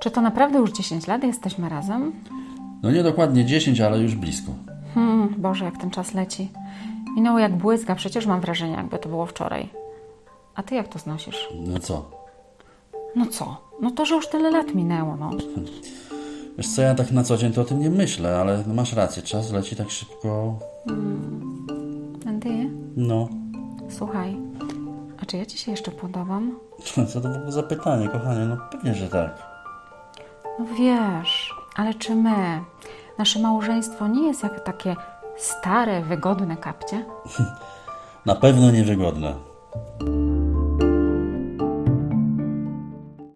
Czy to naprawdę już 10 lat jesteśmy razem? No nie dokładnie 10, ale już blisko. Hmm, Boże, jak ten czas leci. Minęło jak błyska, przecież mam wrażenie, jakby to było wczoraj. A ty jak to znosisz? No co? No co? No to, że już tyle lat minęło, no. Wiesz co, ja tak na co dzień to o tym nie myślę, ale no masz rację, czas leci tak szybko. Andy, No, słuchaj, a czy ja ci się jeszcze podobam? co to było za pytanie, kochanie? No pewnie, że tak. No wiesz, ale czy my, nasze małżeństwo nie jest jak takie stare, wygodne kapcie? Na pewno niewygodne.